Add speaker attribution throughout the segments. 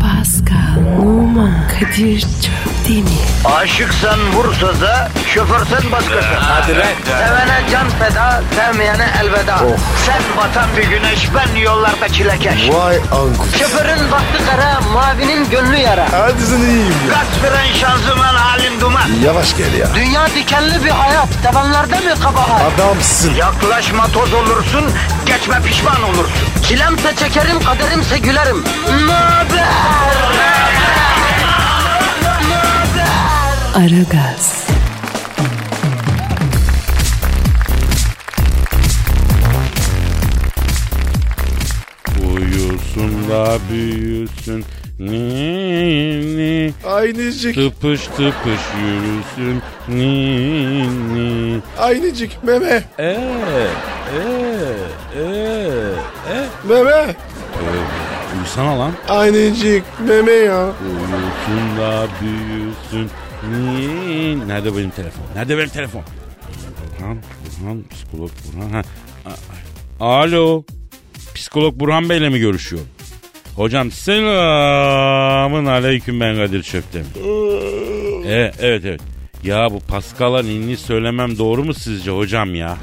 Speaker 1: Pascal, Oman, Kadir çok değil mi?
Speaker 2: Aşıksan vursa da şoförsen başkasın. Hadi
Speaker 3: lan.
Speaker 2: Sevene can feda, sevmeyene elveda. Sen batan bir güneş, ben yollarda çilekeş.
Speaker 3: Vay anku.
Speaker 2: Şoförün baktı kara, mavinin gönlü yara.
Speaker 3: Hadi sen iyiyim ya.
Speaker 2: Kasperen şanzıman halin duman.
Speaker 3: Yavaş gel ya.
Speaker 2: Dünya dikenli bir hayat, sevenlerde mi kabahar?
Speaker 3: Adamsın.
Speaker 2: Yaklaşma toz olursun, geçme pişman olursun. Çilemse çekerim, kaderimse gülerim. Möber!
Speaker 1: Aragaz,
Speaker 4: Uyusun da büyüsün. Ni ni.
Speaker 3: Aynıcık.
Speaker 4: Tıpış tıpış yürüsün. Ni ni.
Speaker 3: Aynıcık. Meme.
Speaker 4: Ee, ee, ee, ee.
Speaker 3: Meme.
Speaker 4: Uyusana lan.
Speaker 3: Aynıcık. Meme ya.
Speaker 4: Uyusun da büyüsün. Ni. Nerede benim telefon? Nerede benim telefon? Burhan, Burhan, psikolog Burhan. Ha. A- a- Alo. Psikolog Burhan Bey'le mi görüşüyorum? Hocam selamın aleyküm ben Kadir Çöptemir. Evet, evet evet. Ya bu Pascal'a ninni söylemem doğru mu sizce hocam ya?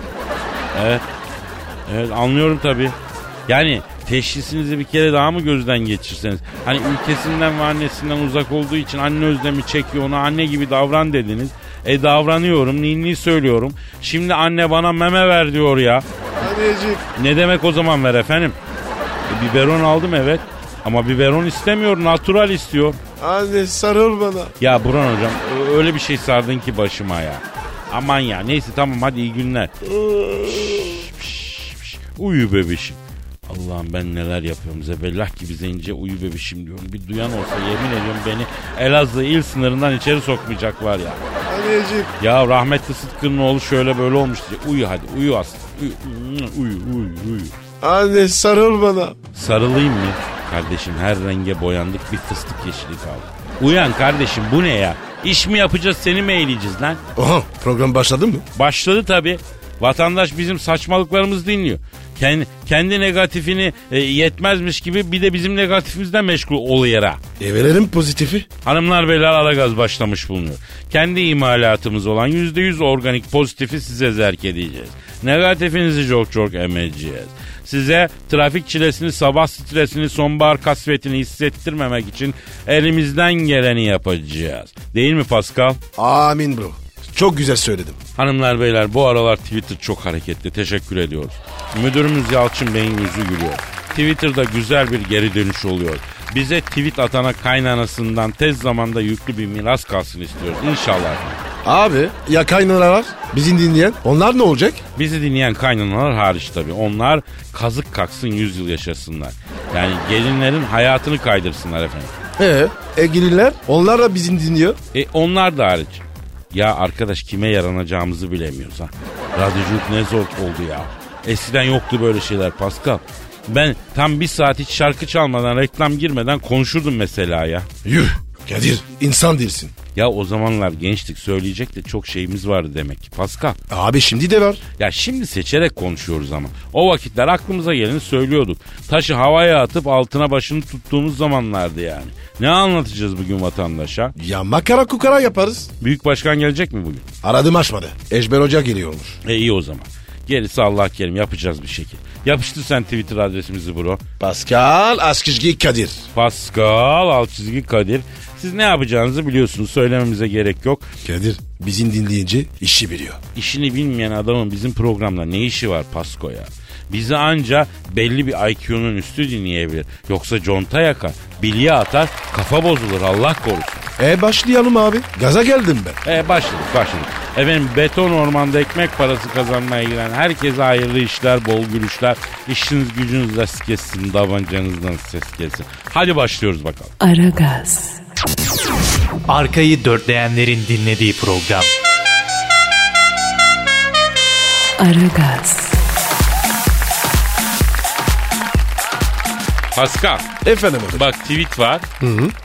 Speaker 4: Evet. Evet anlıyorum tabii. Yani teşhisinizi bir kere daha mı gözden geçirseniz? Hani ülkesinden ve annesinden uzak olduğu için anne özlemi çekiyor ona anne gibi davran dediniz. E davranıyorum ninni söylüyorum. Şimdi anne bana meme ver diyor ya.
Speaker 3: Aynıcık.
Speaker 4: Ne demek o zaman ver efendim? E, biberon aldım evet. Ama biberon istemiyor natural istiyor.
Speaker 3: Anne sarıl bana.
Speaker 4: Ya Burhan hocam ö- öyle bir şey sardın ki başıma ya. Aman ya neyse tamam hadi iyi günler. Şş, şş, şş. uyu bebişim. Allah'ım ben neler yapıyorum zebellah gibi zence uyu bebişim diyorum. Bir duyan olsa yemin ediyorum beni Elazığ il sınırından içeri sokmayacaklar ya.
Speaker 3: Annecik.
Speaker 4: Ya rahmetli Sıtkı'nın oğlu şöyle böyle olmuş diye. Uyu hadi uyu aslan. Uyu uyu uyu. uyu.
Speaker 3: Anne sarıl bana.
Speaker 4: Sarılayım mı? Kardeşim her renge boyandık bir fıstık yeşili kaldı. Uyan kardeşim bu ne ya? İş mi yapacağız seni mi eğleyeceğiz lan?
Speaker 3: Oha program başladı mı?
Speaker 4: Başladı tabii. Vatandaş bizim saçmalıklarımızı dinliyor. Kendi, kendi negatifini e, yetmezmiş gibi bir de bizim negatifimizden meşgul oluyor ha.
Speaker 3: E verelim pozitifi.
Speaker 4: Hanımlar beyler Aragaz başlamış bulunuyor. Kendi imalatımız olan %100 organik pozitifi size zerk edeceğiz. Negatifinizi çok çok emeceğiz. Size trafik çilesini, sabah stresini, sonbahar kasvetini hissettirmemek için elimizden geleni yapacağız. Değil mi Pascal?
Speaker 3: Amin bro. Çok güzel söyledim.
Speaker 4: Hanımlar beyler bu aralar Twitter çok hareketli. Teşekkür ediyoruz. Müdürümüz Yalçın Bey'in yüzü gülüyor. Twitter'da güzel bir geri dönüş oluyor. Bize tweet atana kaynanasından tez zamanda yüklü bir miras kalsın istiyoruz. İnşallah.
Speaker 3: Abi ya kaynanalar bizim dinleyen onlar ne olacak?
Speaker 4: Bizi dinleyen kaynanalar hariç tabii. Onlar kazık kaksın 100 yıl yaşasınlar. Yani gelinlerin hayatını kaydırsınlar efendim.
Speaker 3: Ee, e gelirler onlar da bizim dinliyor.
Speaker 4: E onlar da hariç. Ya arkadaş kime yaranacağımızı bilemiyoruz ha. Radyoculuk ne zor oldu ya. Eskiden yoktu böyle şeyler Pascal. Ben tam bir saat hiç şarkı çalmadan, reklam girmeden konuşurdum mesela ya.
Speaker 3: Yuh Kadir insan değilsin.
Speaker 4: Ya o zamanlar gençlik söyleyecek de çok şeyimiz vardı demek ki Pascal.
Speaker 3: Abi şimdi de var.
Speaker 4: Ya şimdi seçerek konuşuyoruz ama. O vakitler aklımıza geleni söylüyorduk. Taşı havaya atıp altına başını tuttuğumuz zamanlardı yani. Ne anlatacağız bugün vatandaşa?
Speaker 3: Ya makara kukara yaparız.
Speaker 4: Büyük başkan gelecek mi bugün?
Speaker 3: Aradım açmadı. Eşber Hoca geliyormuş.
Speaker 4: E iyi o zaman. Gerisi Allah kerim yapacağız bir şekil. Yapıştır sen Twitter adresimizi bro.
Speaker 3: Pascal Askizgi Kadir.
Speaker 4: Pascal alt çizgi Kadir. Siz ne yapacağınızı biliyorsunuz söylememize gerek yok.
Speaker 3: Kadir bizim dinleyici işi biliyor.
Speaker 4: İşini bilmeyen adamın bizim programda ne işi var Pasko ya? Bizi anca belli bir IQ'nun üstü dinleyebilir. Yoksa conta yakar, bilye atar, kafa bozulur Allah korusun.
Speaker 3: E başlayalım abi. Gaza geldim ben.
Speaker 4: E başladık başladık. Efendim beton ormanda ekmek parası kazanmaya giren herkese hayırlı işler, bol gülüşler. İşiniz gücünüz ses kessin, davancanızdan ses kessin. Hadi başlıyoruz bakalım.
Speaker 1: Aragaz,
Speaker 5: Arkayı dörtleyenlerin dinlediği program.
Speaker 1: Aragaz,
Speaker 4: Pascal
Speaker 3: Efendim abi.
Speaker 4: bak tweet var.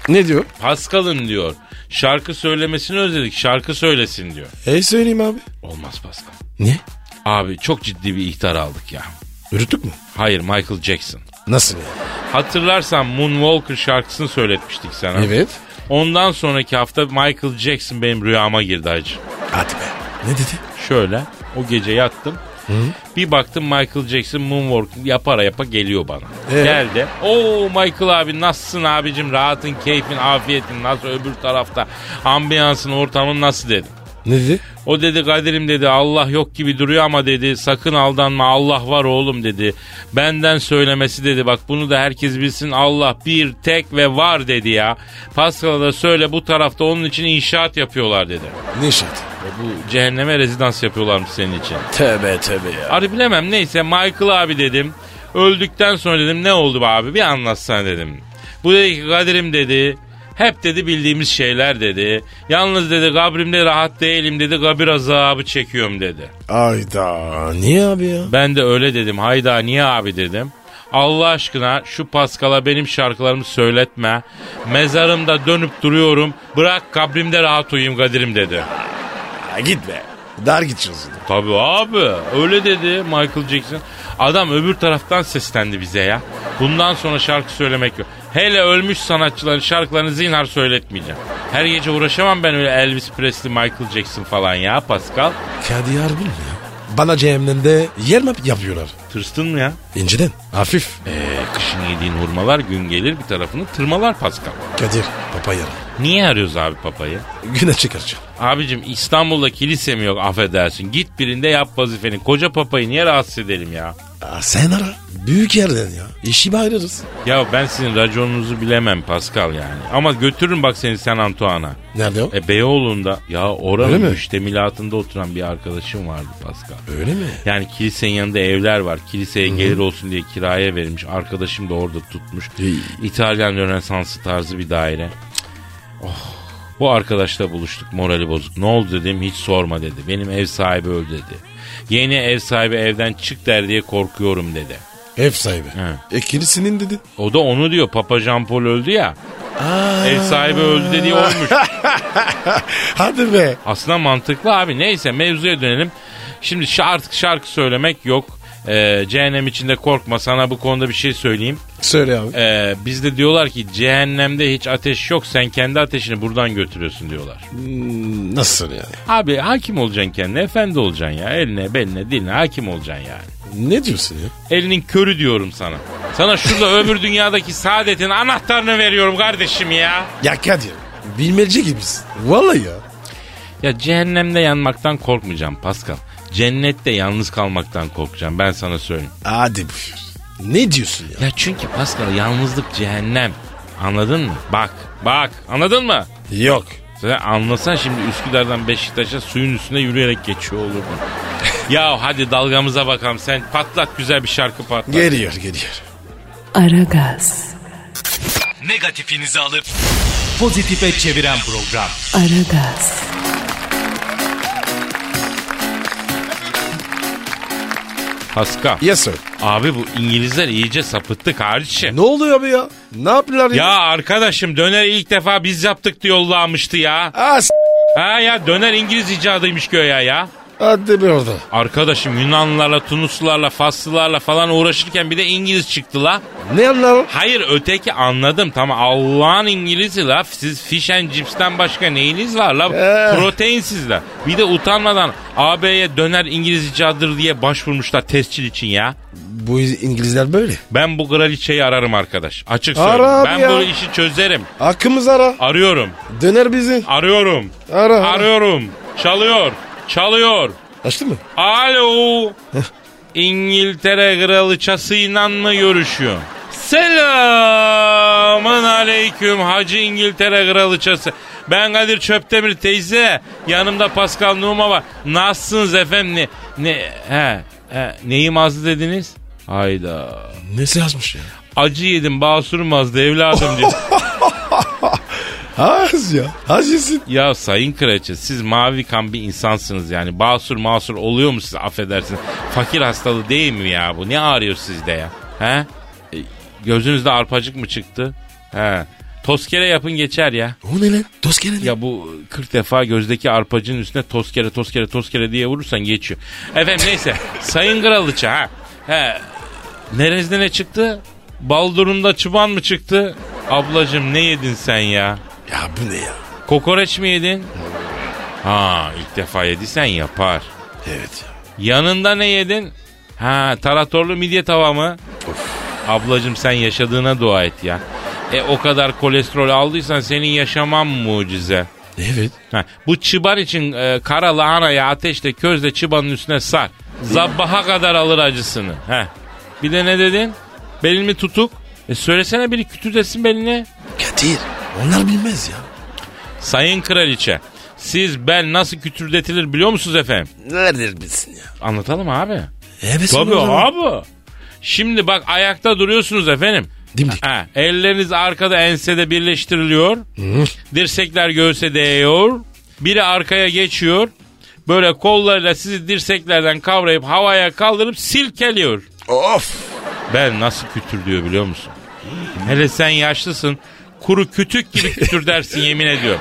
Speaker 3: Ne diyor?
Speaker 4: Pascal'ın diyor. Şarkı söylemesini özledik şarkı söylesin diyor.
Speaker 3: E söyleyeyim abi.
Speaker 4: Olmaz Pascal.
Speaker 3: Ne?
Speaker 4: Abi çok ciddi bir ihtar aldık ya.
Speaker 3: Ürüttük mü?
Speaker 4: Hayır Michael Jackson.
Speaker 3: Nasıl ya?
Speaker 4: Hatırlarsan Moonwalker şarkısını söyletmiştik sana.
Speaker 3: Evet.
Speaker 4: Ondan sonraki hafta Michael Jackson benim rüyama girdi hacı.
Speaker 3: Hadi be. Ne dedi?
Speaker 4: Şöyle o gece yattım. Bir baktım Michael Jackson moonwalk yapara yapa geliyor bana.
Speaker 3: Ee?
Speaker 4: Geldi. Oo Michael abi nasılsın abicim rahatın, keyfin, afiyetin nasıl öbür tarafta ambiyansın, ortamın nasıl dedim.
Speaker 3: Ne dedi?
Speaker 4: O dedi Kadir'im dedi Allah yok gibi duruyor ama dedi sakın aldanma Allah var oğlum dedi. Benden söylemesi dedi bak bunu da herkes bilsin Allah bir tek ve var dedi ya. Pascal'a da söyle bu tarafta onun için inşaat yapıyorlar dedi.
Speaker 3: Ne şey işaret?
Speaker 4: Bu cehenneme rezidans yapıyorlarmış senin için.
Speaker 3: Tövbe tövbe ya.
Speaker 4: Arı bilemem neyse Michael abi dedim. Öldükten sonra dedim ne oldu be abi bir anlatsana dedim. Bu dedi ki Kadir'im dedi. Hep dedi bildiğimiz şeyler dedi. Yalnız dedi kabrimde rahat değilim dedi. Kabir azabı çekiyorum dedi.
Speaker 3: Ayda. Niye abi ya?
Speaker 4: Ben de öyle dedim. Hayda niye abi dedim. Allah aşkına şu Paskal'a benim şarkılarımı söyletme. Mezarımda dönüp duruyorum. Bırak kabrimde rahat uyuyayım Kadir'im dedi.
Speaker 3: Ha, git be. Dar gideceğiz.
Speaker 4: Tabii abi öyle dedi Michael Jackson. Adam öbür taraftan seslendi bize ya. Bundan sonra şarkı söylemek yok. Hele ölmüş sanatçıların şarkılarını zinhar söyletmeyeceğim. Her gece uğraşamam ben öyle Elvis Presley, Michael Jackson falan ya Pascal.
Speaker 3: Kadir Erbil mi ya? Bana cehennemde yer mi yapıyorlar?
Speaker 4: Tırstın mı ya?
Speaker 3: İnceden. Hafif. E,
Speaker 4: Ee, kışın yediğin hurmalar gün gelir bir tarafını tırmalar Pascal.
Speaker 3: Kadir. Papaya.
Speaker 4: Niye arıyoruz abi papayı?
Speaker 3: Güne çıkaracağım.
Speaker 4: Abicim İstanbul'da kilise mi yok affedersin. Git birinde yap vazifeni. Koca papayı niye rahatsız edelim ya?
Speaker 3: Aa, sen ara. Büyük yerden ya. İşi bayırırız.
Speaker 4: Ya ben sizin raconunuzu bilemem Pascal yani. Ama götürürüm bak seni San Antoine'a.
Speaker 3: Nerede o?
Speaker 4: E Beyoğlu'nda ya
Speaker 3: Öyle
Speaker 4: oranın
Speaker 3: mi?
Speaker 4: müştemilatında oturan bir arkadaşım vardı Pascal.
Speaker 3: Öyle mi?
Speaker 4: Yani kilisenin yanında evler var. Kiliseye gelir olsun diye kiraya verilmiş. Arkadaşım da orada tutmuş.
Speaker 3: İyi.
Speaker 4: İtalyan Rönesansı tarzı bir daire. Cık. Oh. Bu arkadaşla buluştuk morali bozuk. Ne oldu dedim hiç sorma dedi. Benim ev sahibi öldü dedi. Yeni ev sahibi evden çık der diye korkuyorum dedi.
Speaker 3: Ev sahibi.
Speaker 4: He.
Speaker 3: E kilisinin dedi.
Speaker 4: O da onu diyor. Papa Jean Paul öldü ya. Ev sahibi öldü dediği olmuş.
Speaker 3: Hadi be.
Speaker 4: Aslında mantıklı abi. Neyse mevzuya dönelim. Şimdi şa- artık şarkı söylemek yok. Ee, cehennem içinde korkma sana bu konuda bir şey söyleyeyim.
Speaker 3: Söyle abi.
Speaker 4: Ee, bizde diyorlar ki cehennemde hiç ateş yok sen kendi ateşini buradan götürüyorsun diyorlar.
Speaker 3: Nasıl yani?
Speaker 4: Abi hakim olacaksın kendine efendi olacaksın ya eline beline diline hakim olacaksın yani.
Speaker 3: Ne diyorsun ya?
Speaker 4: Elinin körü diyorum sana. Sana şurada öbür dünyadaki saadetin anahtarını veriyorum kardeşim ya.
Speaker 3: Ya Kadir. Bilmece gibisin. Vallahi ya.
Speaker 4: Ya cehennemde yanmaktan korkmayacağım Pascal. Cennette yalnız kalmaktan korkacağım ben sana söyleyeyim.
Speaker 3: Hadi buyur. Ne diyorsun ya?
Speaker 4: Ya çünkü Pascal yalnızlık cehennem. Anladın mı? Bak bak anladın mı?
Speaker 3: Yok.
Speaker 4: Sen anlasan şimdi Üsküdar'dan Beşiktaş'a suyun üstünde yürüyerek geçiyor olurdun. ya hadi dalgamıza bakalım sen patlat güzel bir şarkı patlat.
Speaker 3: Geliyor geliyor.
Speaker 1: Aragaz,
Speaker 5: Negatifinizi alıp pozitife çeviren program.
Speaker 1: Aragaz,
Speaker 4: Pascal.
Speaker 3: Yes sir.
Speaker 4: Abi bu İngilizler iyice sapıttı kardeşim.
Speaker 3: Ne oluyor abi ya? Ne yapıyorlar
Speaker 4: Ya arkadaşım döner ilk defa biz yaptık diye yollamıştı ya.
Speaker 3: Aa, Ah, s-
Speaker 4: Ha ya döner İngiliz icadıymış göya ya.
Speaker 3: Hadi bir orada.
Speaker 4: Arkadaşım Yunanlılarla, Tunuslularla, Faslılarla falan uğraşırken bir de İngiliz çıktı la.
Speaker 3: Ne anlar?
Speaker 4: Hayır öteki anladım tamam Allah'ın İngiliz'i la. Siz fish and chips'ten başka neyiniz var la?
Speaker 3: Eh.
Speaker 4: Proteinsiz la. Bir de utanmadan AB'ye döner İngiliz icadıdır diye başvurmuşlar tescil için ya.
Speaker 3: Bu İngilizler böyle.
Speaker 4: Ben bu kraliçeyi ararım arkadaş. Açık
Speaker 3: Ara
Speaker 4: söyleyeyim.
Speaker 3: abi
Speaker 4: Ben
Speaker 3: ya.
Speaker 4: bu işi çözerim.
Speaker 3: Hakkımız ara.
Speaker 4: Arıyorum.
Speaker 3: Döner bizi.
Speaker 4: Arıyorum.
Speaker 3: Ara, ara.
Speaker 4: Arıyorum. Çalıyor. Çalıyor.
Speaker 3: Açtı mı?
Speaker 4: Alo. İngiltere kraliçasıyla mı görüşüyor? Selamın aleyküm Hacı İngiltere kraliçası. Ben Kadir Çöptemir teyze. Yanımda Pascal Numa var. Nasılsınız efendim? Ne, ne, he, he, neyim azdı dediniz? Hayda.
Speaker 3: Nesi yazmış ya?
Speaker 4: Acı yedim basurum azdı evladım diyor.
Speaker 3: Az ya. Az yesin.
Speaker 4: Ya sayın kraliçe siz mavi kan bir insansınız yani. Basur masur oluyor mu siz affedersiniz? Fakir hastalığı değil mi ya bu? Ne ağrıyor sizde ya? He? E, gözünüzde arpacık mı çıktı? He. Toskere yapın geçer ya.
Speaker 3: O ne lan? Dost gelin.
Speaker 4: Ya bu 40 defa gözdeki arpacın üstüne toskere toskere toskere diye vurursan geçiyor. Efendim neyse sayın kraliçe ha. He. Nerenizde ne çıktı? Baldurunda çıban mı çıktı? Ablacım ne yedin sen ya?
Speaker 3: Ya bu ne ya?
Speaker 4: Kokoreç mi yedin? Ha ilk defa yediysen yapar.
Speaker 3: Evet ya.
Speaker 4: Yanında ne yedin? Ha taratorlu midye tava mı? Ablacım sen yaşadığına dua et ya. E o kadar kolesterol aldıysan senin yaşaman mucize.
Speaker 3: Evet.
Speaker 4: Ha, bu çıban için e, kara lahanayı ateşle közle çıbanın üstüne sar. Zabaha kadar alır acısını. Heh. Bir de ne dedin? Belimi tutuk. E söylesene biri kütürdesin belini.
Speaker 3: Kadir onlar bilmez ya.
Speaker 4: Sayın kraliçe siz bel nasıl kütürdetilir biliyor musunuz efendim?
Speaker 3: Neler bilsin ya?
Speaker 4: Anlatalım abi.
Speaker 3: Evet.
Speaker 4: Tabii
Speaker 3: oğlum.
Speaker 4: abi. Şimdi bak ayakta duruyorsunuz efendim.
Speaker 3: Dimdik.
Speaker 4: Ha, elleriniz arkada ensede birleştiriliyor. Dirsekler göğse değiyor. Biri arkaya geçiyor. Böyle kollarıyla sizi dirseklerden kavrayıp havaya kaldırıp silkeliyor.
Speaker 3: Of.
Speaker 4: Ben nasıl kütür diyor biliyor musun? Hele sen yaşlısın. Kuru kütük gibi kütür dersin yemin ediyorum.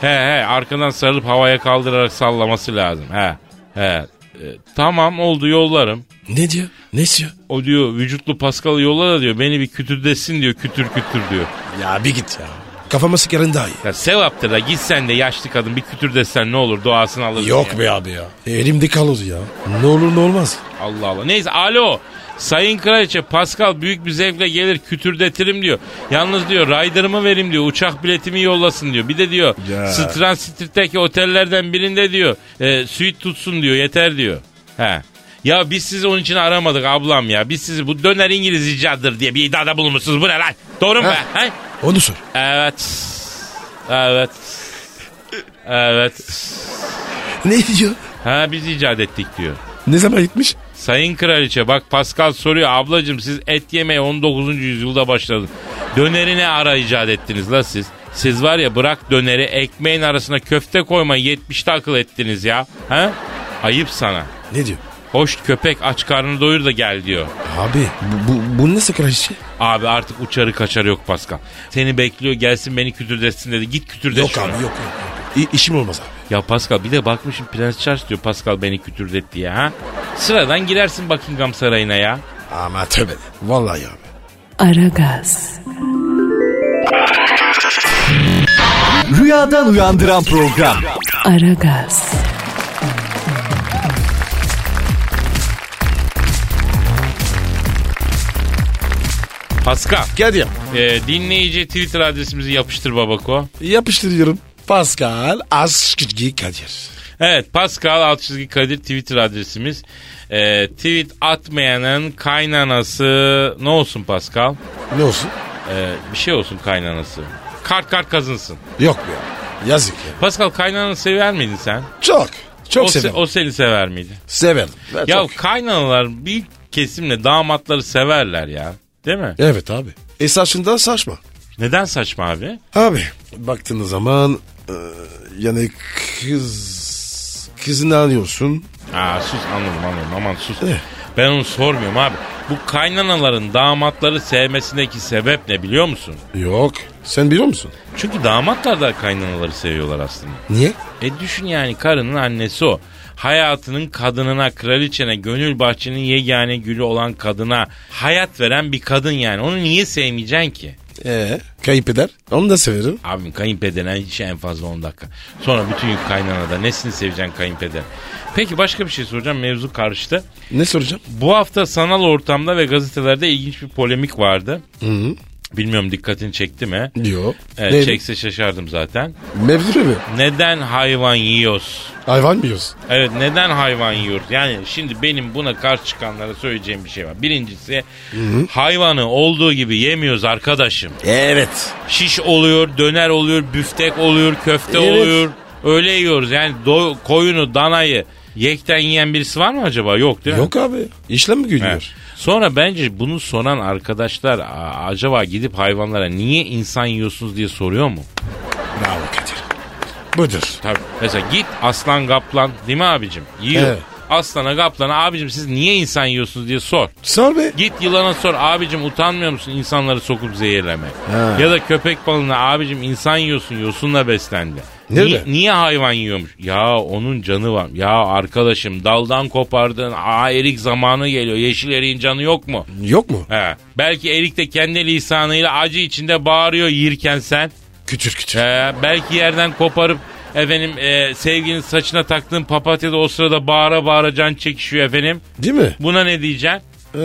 Speaker 4: He he arkadan sarılıp havaya kaldırarak sallaması lazım. He he. E, tamam oldu yollarım.
Speaker 3: Ne diyor? Ne istiyor?
Speaker 4: O diyor vücutlu Paskal'ı yolla da diyor beni bir kütürdesin diyor kütür kütür diyor.
Speaker 3: Ya bir git ya. Kafama sıkarın daha iyi.
Speaker 4: Ya sevaptır da gitsen de yaşlı kadın bir kütür desen ne olur duasını alırsın. ya.
Speaker 3: Yok be abi ya. Elimde kalır ya. Ne olur ne olmaz.
Speaker 4: Allah Allah. Neyse alo. Sayın Kraliçe Pascal büyük bir zevkle gelir kütürdetirim diyor. Yalnız diyor rider'ımı verim diyor. Uçak biletimi yollasın diyor. Bir de diyor
Speaker 3: Ya.
Speaker 4: Strand Street'teki otellerden birinde diyor e, suite tutsun diyor yeter diyor. He. Ya biz sizi onun için aramadık ablam ya. Biz sizi bu döner İngiliz icadıdır diye bir iddiada bulunmuşsunuz. Bu ne lan? Doğru mu?
Speaker 3: Heh.
Speaker 4: be? He?
Speaker 3: Onu sor.
Speaker 4: Evet. Evet. Evet.
Speaker 3: Ne diyor?
Speaker 4: Ha biz icat ettik diyor.
Speaker 3: Ne zaman gitmiş?
Speaker 4: Sayın Kraliçe bak Pascal soruyor ablacım siz et yemeye 19. yüzyılda başladınız. Döneri ne ara icat ettiniz la siz? Siz var ya bırak döneri ekmeğin arasına köfte koyma 70'te akıl ettiniz ya. Ha? Ayıp sana.
Speaker 3: Ne diyor?
Speaker 4: Hoş köpek aç karnını doyur da gel diyor.
Speaker 3: Abi bu, bu, bu nasıl kraliçe?
Speaker 4: Abi artık uçarı kaçarı yok Pascal. Seni bekliyor gelsin beni kütürdetsin dedi. Git kütürdet
Speaker 3: Yok
Speaker 4: şunu.
Speaker 3: abi yok. yok. İ- işim olmaz abi.
Speaker 4: Ya Pascal bir de bakmışım Prens Charles diyor Pascal beni kütürdet diye ha. Sıradan girersin Buckingham Sarayı'na ya.
Speaker 3: Ama tövbe de. Vallahi abi.
Speaker 1: Aragaz,
Speaker 5: Rüyadan uyandıran program.
Speaker 1: Aragaz,
Speaker 4: Pascal.
Speaker 3: Kadir
Speaker 4: Ee, dinleyici Twitter adresimizi yapıştır babako.
Speaker 3: yapıştırıyorum. Pascal Askizgi Kadir.
Speaker 4: Evet Pascal alt çizgi Kadir Twitter adresimiz. Ee, tweet atmayanın kaynanası ne olsun Pascal?
Speaker 3: Ne olsun?
Speaker 4: Ee, bir şey olsun kaynanası. Kart kart kazınsın.
Speaker 3: Yok be ya. Yazık ya.
Speaker 4: Pascal kaynananı sever miydin sen?
Speaker 3: Çok. Çok
Speaker 4: o, se-
Speaker 3: severim.
Speaker 4: o seni sever miydi?
Speaker 3: Severim. Ben
Speaker 4: Ya
Speaker 3: çok.
Speaker 4: kaynanalar bir kesimle damatları severler ya. Değil mi?
Speaker 3: Evet abi. E saçından saçma.
Speaker 4: Neden saçma abi?
Speaker 3: Abi baktığınız zaman e, yani kız kızını anlıyorsun.
Speaker 4: Aa sus anladım anladım aman sus.
Speaker 3: Eh.
Speaker 4: Ben onu sormuyorum abi. Bu kaynanaların damatları sevmesindeki sebep ne biliyor musun?
Speaker 3: Yok. Sen biliyor musun?
Speaker 4: Çünkü damatlar da kaynanaları seviyorlar aslında.
Speaker 3: Niye?
Speaker 4: E düşün yani karının annesi o. Hayatının kadınına, kraliçene, gönül bahçenin yegane gülü olan kadına hayat veren bir kadın yani. Onu niye sevmeyeceksin ki? E?
Speaker 3: Ee, kayıp eder. Onu da severim.
Speaker 4: Abim kayınpederine işi en fazla 10 dakika. Sonra bütün yük kaynanada. Nesini seveceksin kayınpeder? Peki başka bir şey soracağım. Mevzu karıştı.
Speaker 3: Ne soracağım?
Speaker 4: Bu hafta sanal ortamda ve gazetelerde ilginç bir polemik vardı. Bilmiyorum dikkatini çekti mi?
Speaker 3: Yok.
Speaker 4: Evet,
Speaker 3: Ne?
Speaker 4: çekse şaşardım zaten.
Speaker 3: Mevzu mu?
Speaker 4: Neden hayvan yiyoruz?
Speaker 3: Hayvan mı yiyorsun?
Speaker 4: Evet neden hayvan yiyor? Yani şimdi benim buna karşı çıkanlara söyleyeceğim bir şey var. Birincisi hayvanı olduğu gibi yemiyoruz arkadaşım.
Speaker 3: Evet.
Speaker 4: Şiş oluyor, döner oluyor, büftek oluyor, köfte
Speaker 3: Evet.
Speaker 4: oluyor. Öyle yiyoruz yani do- koyunu, danayı yekten yiyen birisi var mı acaba? Yok değil mi?
Speaker 3: Yok abi. İşlem mi
Speaker 4: He.
Speaker 3: gülüyor?
Speaker 4: Sonra bence bunu soran arkadaşlar "Aa, acaba gidip hayvanlara niye insan yiyorsunuz diye soruyor mu?
Speaker 3: Bravo Kadir. Budur.
Speaker 4: Tabii. Mesela git aslan kaplan değil mi abicim? Yiyor.
Speaker 3: Evet.
Speaker 4: Aslana kaplana abicim siz niye insan yiyorsunuz diye sor.
Speaker 3: Sor be.
Speaker 4: Git yılana sor abicim utanmıyor musun insanları sokup zehirleme? Ya da köpek balığına abicim insan yiyorsun yosunla beslendi.
Speaker 3: Ne
Speaker 4: Ni-
Speaker 3: be?
Speaker 4: niye hayvan yiyormuş? Ya onun canı var. Ya arkadaşım daldan kopardığın aa erik zamanı geliyor. Yeşil eriğin canı yok mu?
Speaker 3: Yok mu?
Speaker 4: He. Belki erik de kendi lisanıyla acı içinde bağırıyor yirken sen.
Speaker 3: Küçük küçük.
Speaker 4: He, belki yerden koparıp efendim e, sevginin saçına taktığın papatya da o sırada bağıra bağıra can çekişiyor efendim.
Speaker 3: Değil mi?
Speaker 4: Buna ne diyeceksin?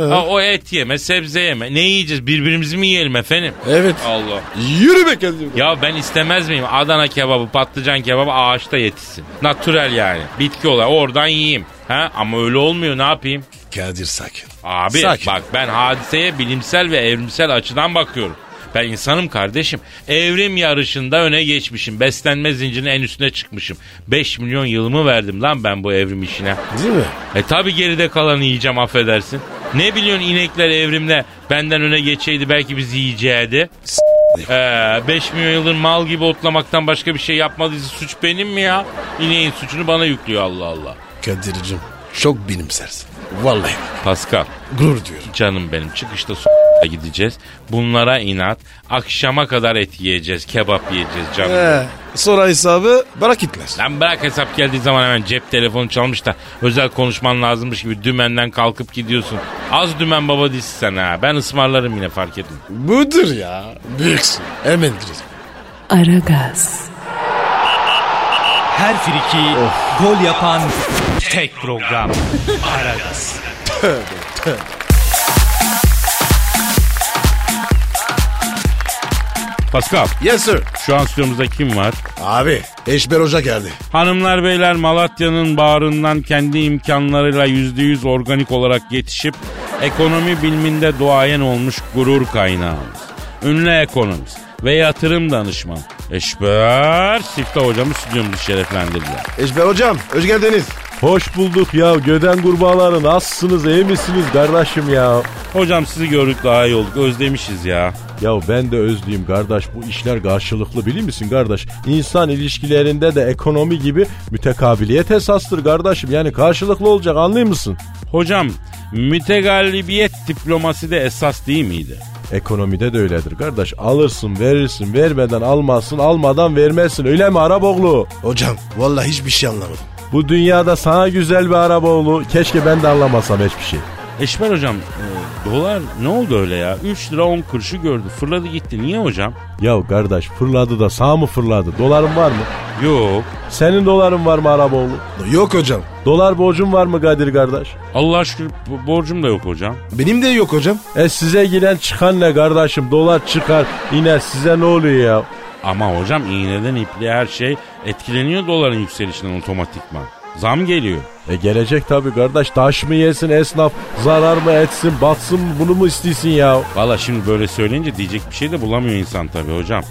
Speaker 4: Ha, o et yeme, sebze yeme. Ne yiyeceğiz? Birbirimizi mi yiyelim efendim?
Speaker 3: Evet.
Speaker 4: Allah.
Speaker 3: Yürü be kendin.
Speaker 4: Ya ben istemez miyim? Adana kebabı, patlıcan kebabı ağaçta yetişsin. Natürel yani. Bitki olarak oradan yiyeyim. Ha? Ama öyle olmuyor ne yapayım?
Speaker 3: Kadir sakin.
Speaker 4: Abi
Speaker 3: Sakin.
Speaker 4: bak ben hadiseye bilimsel ve evrimsel açıdan bakıyorum. Ben insanım kardeşim. Evrim yarışında öne geçmişim. Beslenme zincirinin en üstüne çıkmışım. 5 milyon yılımı verdim lan ben bu evrim işine.
Speaker 3: Değil mi?
Speaker 4: E tabi geride kalanı yiyeceğim affedersin. Ne biliyorsun inekler evrimle benden öne geçeydi belki biz yiyeceğiydi. Ee, 5 milyon yıldır mal gibi otlamaktan başka bir şey yapmadıysa suç benim mi ya? İneğin suçunu bana yüklüyor Allah Allah.
Speaker 3: Kadir'cim çok benimsersin. Vallahi bak,
Speaker 4: Pascal
Speaker 3: gurur diyorum.
Speaker 4: canım benim çıkışta s- gideceğiz. Bunlara inat. Akşama kadar et yiyeceğiz. Kebap yiyeceğiz canım.
Speaker 3: He. Sonra hesabı bana kitler.
Speaker 4: Lan bırak hesap geldiği zaman hemen cep telefonu çalmış da özel konuşman lazımmış gibi dümenden kalkıp gidiyorsun. Az dümen baba dizisi sen ha. Ben ısmarlarım yine fark ettim.
Speaker 3: Budur ya. Büyüksün. Hemen girelim.
Speaker 1: Aragaz,
Speaker 5: Her friki gol yapan tek program. Aragaz.
Speaker 4: Pascal
Speaker 3: Yes sir.
Speaker 4: şu an stüdyomuzda kim var?
Speaker 3: Abi Eşber Hoca geldi.
Speaker 4: Hanımlar beyler Malatya'nın bağrından kendi imkanlarıyla %100 organik olarak yetişip ekonomi biliminde duayen olmuş gurur kaynağımız. Ünlü ekonomist ve yatırım danışmanı Eşber Sifta hocamız stüdyomuzu şereflendirdiler.
Speaker 3: Eşber Hocam hoş geldiniz.
Speaker 6: Hoş bulduk ya göden kurbağaları nasılsınız iyi misiniz kardeşim ya?
Speaker 4: Hocam sizi gördük daha iyi olduk özlemişiz ya.
Speaker 6: Ya ben de özlüyüm kardeş bu işler karşılıklı bilir misin kardeş? İnsan ilişkilerinde de ekonomi gibi mütekabiliyet esastır kardeşim yani karşılıklı olacak anlıyor musun?
Speaker 4: Hocam mütegallibiyet diplomasi de esas değil miydi?
Speaker 6: Ekonomide de öyledir kardeş alırsın verirsin vermeden almazsın almadan vermezsin öyle mi Araboğlu?
Speaker 3: Hocam vallahi hiçbir şey anlamadım.
Speaker 6: Bu dünyada sana güzel bir Araboğlu keşke ben de anlamasam hiçbir şey.
Speaker 4: Eşber hocam e, dolar ne oldu öyle ya? 3 lira 10 kuruşu gördü fırladı gitti niye hocam?
Speaker 6: Ya kardeş fırladı da sağ mı fırladı doların var mı?
Speaker 4: Yok.
Speaker 6: Senin doların var mı Araboğlu?
Speaker 3: Yok hocam.
Speaker 6: Dolar borcun var mı Kadir kardeş?
Speaker 4: Allah aşkına bo- borcum da yok hocam.
Speaker 3: Benim de yok hocam.
Speaker 6: E size giren çıkan ne kardeşim? Dolar çıkar iner size ne oluyor ya?
Speaker 4: Ama hocam iğneden ipliğe her şey etkileniyor doların yükselişinden otomatikman. Zam geliyor.
Speaker 6: E gelecek tabii kardeş. Taş mı yesin esnaf? Zarar mı etsin? Batsın mı? Bunu mu istiyorsun ya?
Speaker 4: Valla şimdi böyle söyleyince diyecek bir şey de bulamıyor insan tabii hocam.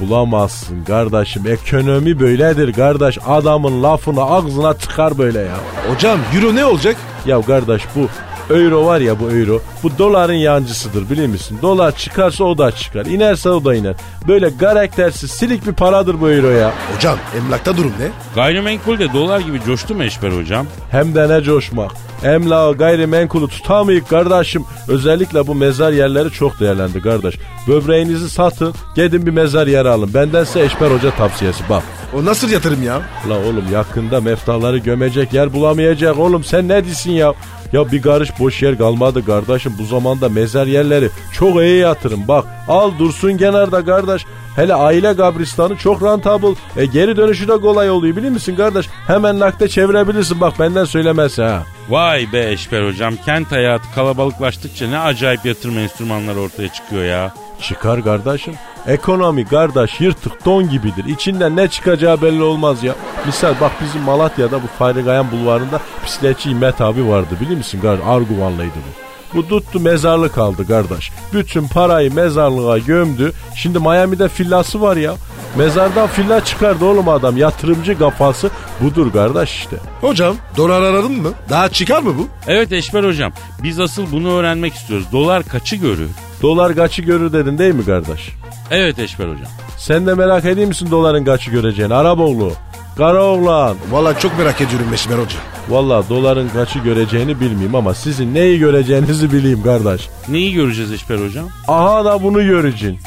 Speaker 6: Bulamazsın kardeşim. Ekonomi böyledir kardeş. Adamın lafını ağzına çıkar böyle ya.
Speaker 3: Hocam euro ne olacak?
Speaker 6: Ya kardeş bu euro var ya bu euro. Bu doların yancısıdır biliyor musun? Dolar çıkarsa o da çıkar. inerse o da iner. Böyle karaktersiz silik bir paradır bu euro ya.
Speaker 3: Hocam emlakta durum ne?
Speaker 4: Gayrimenkulde dolar gibi coştu mu Eşber hocam?
Speaker 6: Hem de ne coşmak. Emla gayrimenkulu tutamayık kardeşim. Özellikle bu mezar yerleri çok değerlendi kardeş. Böbreğinizi satın, gidin bir mezar yeri alın. Benden size Eşber Hoca tavsiyesi bak.
Speaker 3: O nasıl yatırım ya?
Speaker 6: La oğlum yakında meftaları gömecek yer bulamayacak oğlum sen ne diyorsun ya? Ya bir karış boş yer kalmadı kardeşim bu zamanda mezar yerleri çok iyi yatırım bak al dursun kenarda kardeş. Hele aile kabristanı çok rentable. E geri dönüşü de kolay oluyor biliyor musun kardeş? Hemen nakde çevirebilirsin bak benden söylemez ha.
Speaker 4: Vay be Eşber hocam kent hayatı kalabalıklaştıkça ne acayip yatırım enstrümanları ortaya çıkıyor ya.
Speaker 6: Çıkar kardeşim. Ekonomi kardeş yırtık don gibidir. İçinden ne çıkacağı belli olmaz ya. Misal bak bizim Malatya'da bu Fahri Gayan bulvarında bisikletçi İmmet abi vardı biliyor musun kardeş? Arguvanlıydı bu. Bu tuttu mezarlık aldı kardeş. Bütün parayı mezarlığa gömdü. Şimdi Miami'de villası var ya. Mezardan villa çıkardı oğlum adam. Yatırımcı kafası budur kardeş işte.
Speaker 3: Hocam dolar aradın mı? Daha çıkar mı bu?
Speaker 4: Evet Eşber hocam biz asıl bunu öğrenmek istiyoruz. Dolar kaçı görür?
Speaker 6: Dolar kaçı görür dedin değil mi kardeş?
Speaker 4: Evet Eşber hocam.
Speaker 6: Sen de merak ediyor musun doların kaçı göreceğini? Araboğlu. Kara oğlan.
Speaker 3: Valla çok merak ediyorum Meşmer Hoca.
Speaker 6: Valla doların kaçı göreceğini bilmeyeyim ama sizin neyi göreceğinizi bileyim kardeş.
Speaker 4: Neyi göreceğiz Eşber hocam?
Speaker 6: Aha da bunu göreceksin.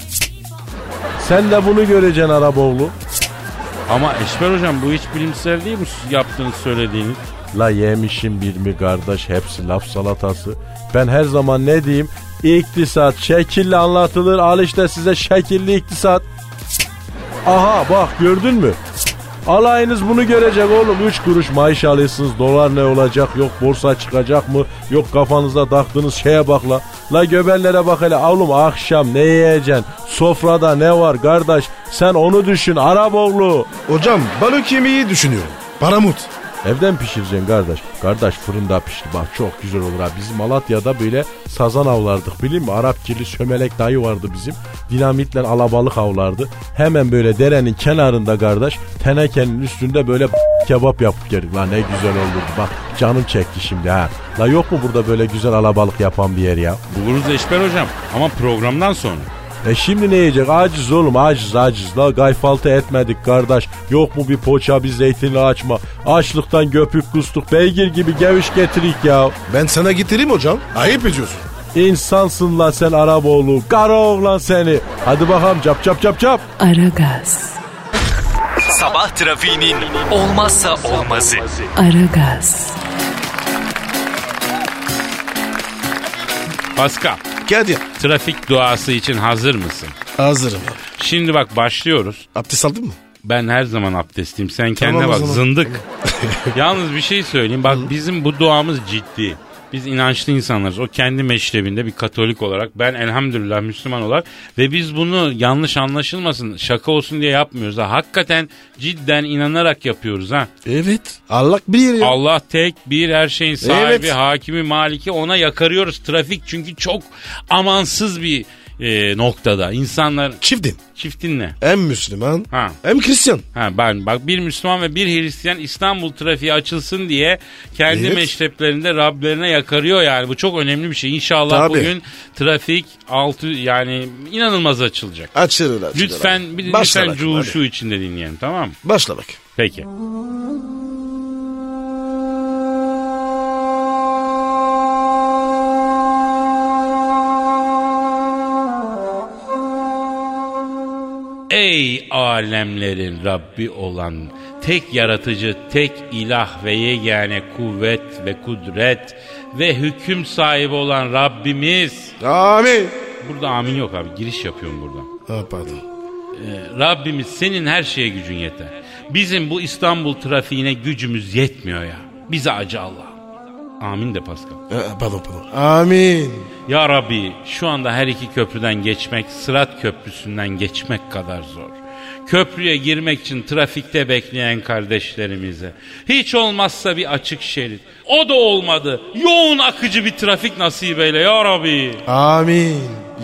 Speaker 6: Sen de bunu göreceksin Araboğlu.
Speaker 4: Ama Eşber hocam bu hiç bilimsel değil mi yaptığınız söylediğiniz?
Speaker 6: La yemişim bir mi kardeş hepsi laf salatası. Ben her zaman ne diyeyim? İktisat şekilli anlatılır. Al işte size şekilli iktisat. Aha bak gördün mü? Alayınız bunu görecek oğlum. 3 kuruş maaş alıyorsunuz. Dolar ne olacak? Yok borsa çıkacak mı? Yok kafanızda taktığınız şeye bak la. La göberlere bak hele. Oğlum akşam ne yiyeceksin? Sofrada ne var kardeş? Sen onu düşün. Arap oğlu.
Speaker 3: Hocam balık yemeği düşünüyorum. Paramut.
Speaker 6: Evden pişireceksin kardeş. Kardeş fırında pişir bak çok güzel olur ha. Biz Malatya'da böyle sazan avlardık bileyim mi? Arap kirli sömelek dayı vardı bizim. Dinamitle alabalık avlardı. Hemen böyle derenin kenarında kardeş tenekenin üstünde böyle kebap yapıp yedik. La ne güzel olurdu bak canım çekti şimdi ha. La yok mu burada böyle güzel alabalık yapan bir yer ya?
Speaker 4: Buluruz Eşber hocam ama programdan sonra.
Speaker 6: E şimdi ne yiyecek? Aciz oğlum aciz aciz. La gayfaltı etmedik kardeş. Yok mu bir poğaça bir zeytinli açma. Açlıktan göpüp kustuk. Beygir gibi geviş getirik ya.
Speaker 3: Ben sana getireyim hocam. Ayıp ediyorsun.
Speaker 6: İnsansın lan sen Araboğlu. Kara oğlan seni. Hadi bakalım cap cap cap cap.
Speaker 1: Aragaz,
Speaker 5: Sabah trafiğinin olmazsa olmazı.
Speaker 1: Aragaz,
Speaker 4: Pascal,
Speaker 3: Kadir.
Speaker 4: trafik duası için hazır mısın?
Speaker 3: Hazırım.
Speaker 4: Şimdi bak başlıyoruz.
Speaker 3: Abdest aldın mı?
Speaker 4: Ben her zaman abdestliyim. Sen kendine
Speaker 3: Tamam o
Speaker 4: bak
Speaker 3: zaman.
Speaker 4: zındık. Yalnız bir şey söyleyeyim. Bak bizim bu duamız ciddi. Biz inançlı insanlarız. O kendi meşrebinde bir katolik olarak. Ben elhamdülillah Müslüman olarak. Ve biz bunu yanlış anlaşılmasın şaka olsun diye yapmıyoruz. Ha. Hakikaten cidden inanarak yapıyoruz ha.
Speaker 3: Evet. Allah bilir ya.
Speaker 4: Allah tek bir her şeyin sahibi,
Speaker 3: Evet.
Speaker 4: hakimi, maliki ona yakarıyoruz. Trafik çünkü çok amansız bir e, noktada. İnsanlar
Speaker 3: Çiftin.
Speaker 4: çiftin ne?
Speaker 3: Hem Müslüman
Speaker 4: Ha.
Speaker 3: hem Hristiyan.
Speaker 4: Ha ben bak bir Müslüman ve bir Hristiyan İstanbul trafiği açılsın diye kendi
Speaker 3: Evet.
Speaker 4: meşreplerinde Rablerine yakarıyor yani. Bu çok önemli bir şey. İnşallah
Speaker 3: Tabii.
Speaker 4: bugün trafik altı yani inanılmaz açılacak.
Speaker 3: Açılır açılır.
Speaker 4: Lütfen
Speaker 3: abi.
Speaker 4: bir
Speaker 3: Başla
Speaker 4: lütfen
Speaker 3: bak,
Speaker 4: coğuşu içinde dinleyelim tamam mı?
Speaker 3: hadi. Başla bak.
Speaker 4: Peki. Ey alemlerin Rabbi olan tek yaratıcı, tek ilah ve yegane kuvvet ve kudret ve hüküm sahibi olan Rabbimiz.
Speaker 3: Amin.
Speaker 4: Burada amin yok abi giriş yapıyorum buradan.
Speaker 3: Ha, pardon.
Speaker 4: Rabbimiz senin her şeye gücün yeter. Bizim bu İstanbul trafiğine gücümüz yetmiyor ya. Bize acı Allah. Amin de Pascal.
Speaker 3: Ha, Ee, pardon pardon. Amin.
Speaker 4: Ya Rabbi şu anda her iki köprüden geçmek Sırat Köprüsü'nden geçmek kadar zor. Köprüye girmek için trafikte bekleyen kardeşlerimize hiç olmazsa bir açık şerit. O da olmadı. Yoğun akıcı bir trafik nasip eyle ya Rabbi.
Speaker 3: Amin.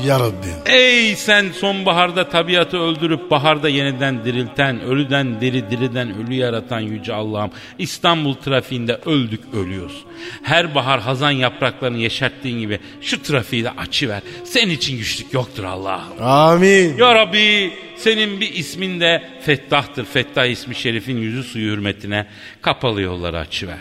Speaker 3: Ya Rabbim.
Speaker 4: Ey sen sonbaharda tabiatı öldürüp baharda yeniden dirilten, ölüden diri diriden ölü yaratan yüce Allah'ım. İstanbul trafiğinde öldük ölüyoruz. Her bahar hazan yapraklarını yeşerttiğin gibi şu trafiği de açıver. Senin için güçlük yoktur Allah'ım.
Speaker 3: Amin.
Speaker 4: Ya Rabbi senin bir ismin de Fettah'tır. Fettah ismi şerifin yüzü suyu hürmetine kapalı yolları açıver.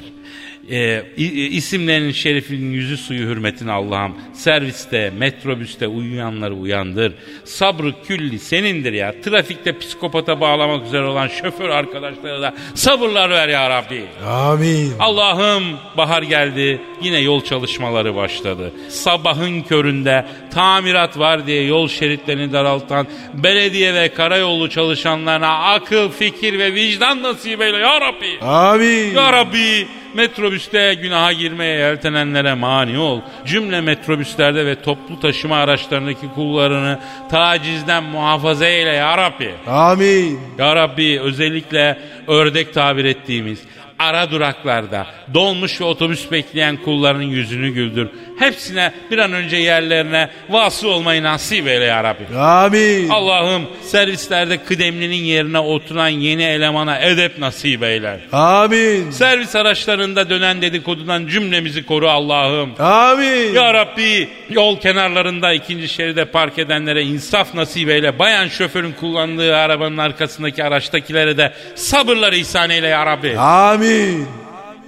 Speaker 4: Ee, i- i- isimlerin şerifinin yüzü suyu hürmetine Allah'ım serviste, metrobüste uyuyanları uyandır. Sabrı külli senindir ya. Trafikte psikopata bağlamak üzere olan şoför arkadaşlara da sabırlar ver ya Rabbi.
Speaker 3: Amin.
Speaker 4: Allah'ım bahar geldi yine yol çalışmaları başladı. Sabahın köründe tamirat var diye yol şeritlerini daraltan belediye ve karayolu çalışanlarına akıl, fikir ve vicdan nasip eyle ya Rabbi.
Speaker 3: Amin.
Speaker 4: Ya Rabbi metrobüste günaha girmeye yeltenenlere mani ol. Cümle metrobüslerde ve toplu taşıma araçlarındaki kullarını tacizden muhafaza eyle ya Rabbi.
Speaker 3: Amin.
Speaker 4: Ya Rabbi özellikle ördek tabir ettiğimiz ara duraklarda dolmuş ve otobüs bekleyen kulların yüzünü güldür. Hepsine bir an önce yerlerine vasıl olmayı nasip eyle ya Rabbi.
Speaker 3: Amin.
Speaker 4: Allah'ım servislerde kıdemlinin yerine oturan yeni elemana edep nasip eyle.
Speaker 3: Amin.
Speaker 4: Servis araçlarında dönen dedikodudan cümlemizi koru Allah'ım.
Speaker 3: Amin.
Speaker 4: Ya Rabbi yol kenarlarında ikinci şeride park edenlere insaf nasip eyle. Bayan şoförün kullandığı arabanın arkasındaki araçtakilere de sabırlar ihsan eyle ya Rabbi.
Speaker 3: Amin.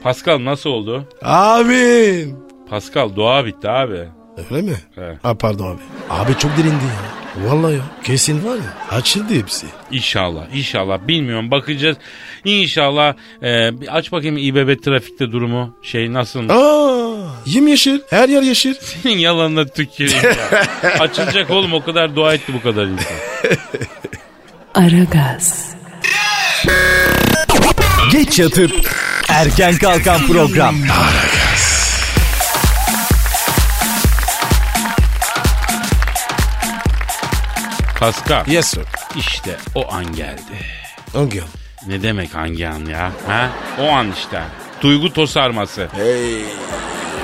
Speaker 4: Pascal nasıl oldu?
Speaker 3: Amin.
Speaker 4: Pascal dua bitti abi.
Speaker 3: Öyle mi?
Speaker 4: He.
Speaker 3: Ha, pardon abi. Abi çok derindi ya. Vallahi ya. Kesin var ya. Açıldı hepsi.
Speaker 4: İnşallah, inşallah. Bilmiyorum bakacağız. İnşallah. e, bir aç bakayım İBB trafikte durumu. Şey nasıl?
Speaker 3: Aa, yeşil. Her yer yeşil.
Speaker 4: Senin yalanına tüküreyim ya. Açılacak oğlum o kadar dua etti bu kadar insan.
Speaker 1: Aragaz,
Speaker 5: Geç yatıp erken kalkan program.
Speaker 4: Pascal
Speaker 3: Yes sir.
Speaker 4: işte o an geldi.
Speaker 3: Hangi
Speaker 4: Ne demek hangi an ya? Ha? O an işte. Duygu tosarması.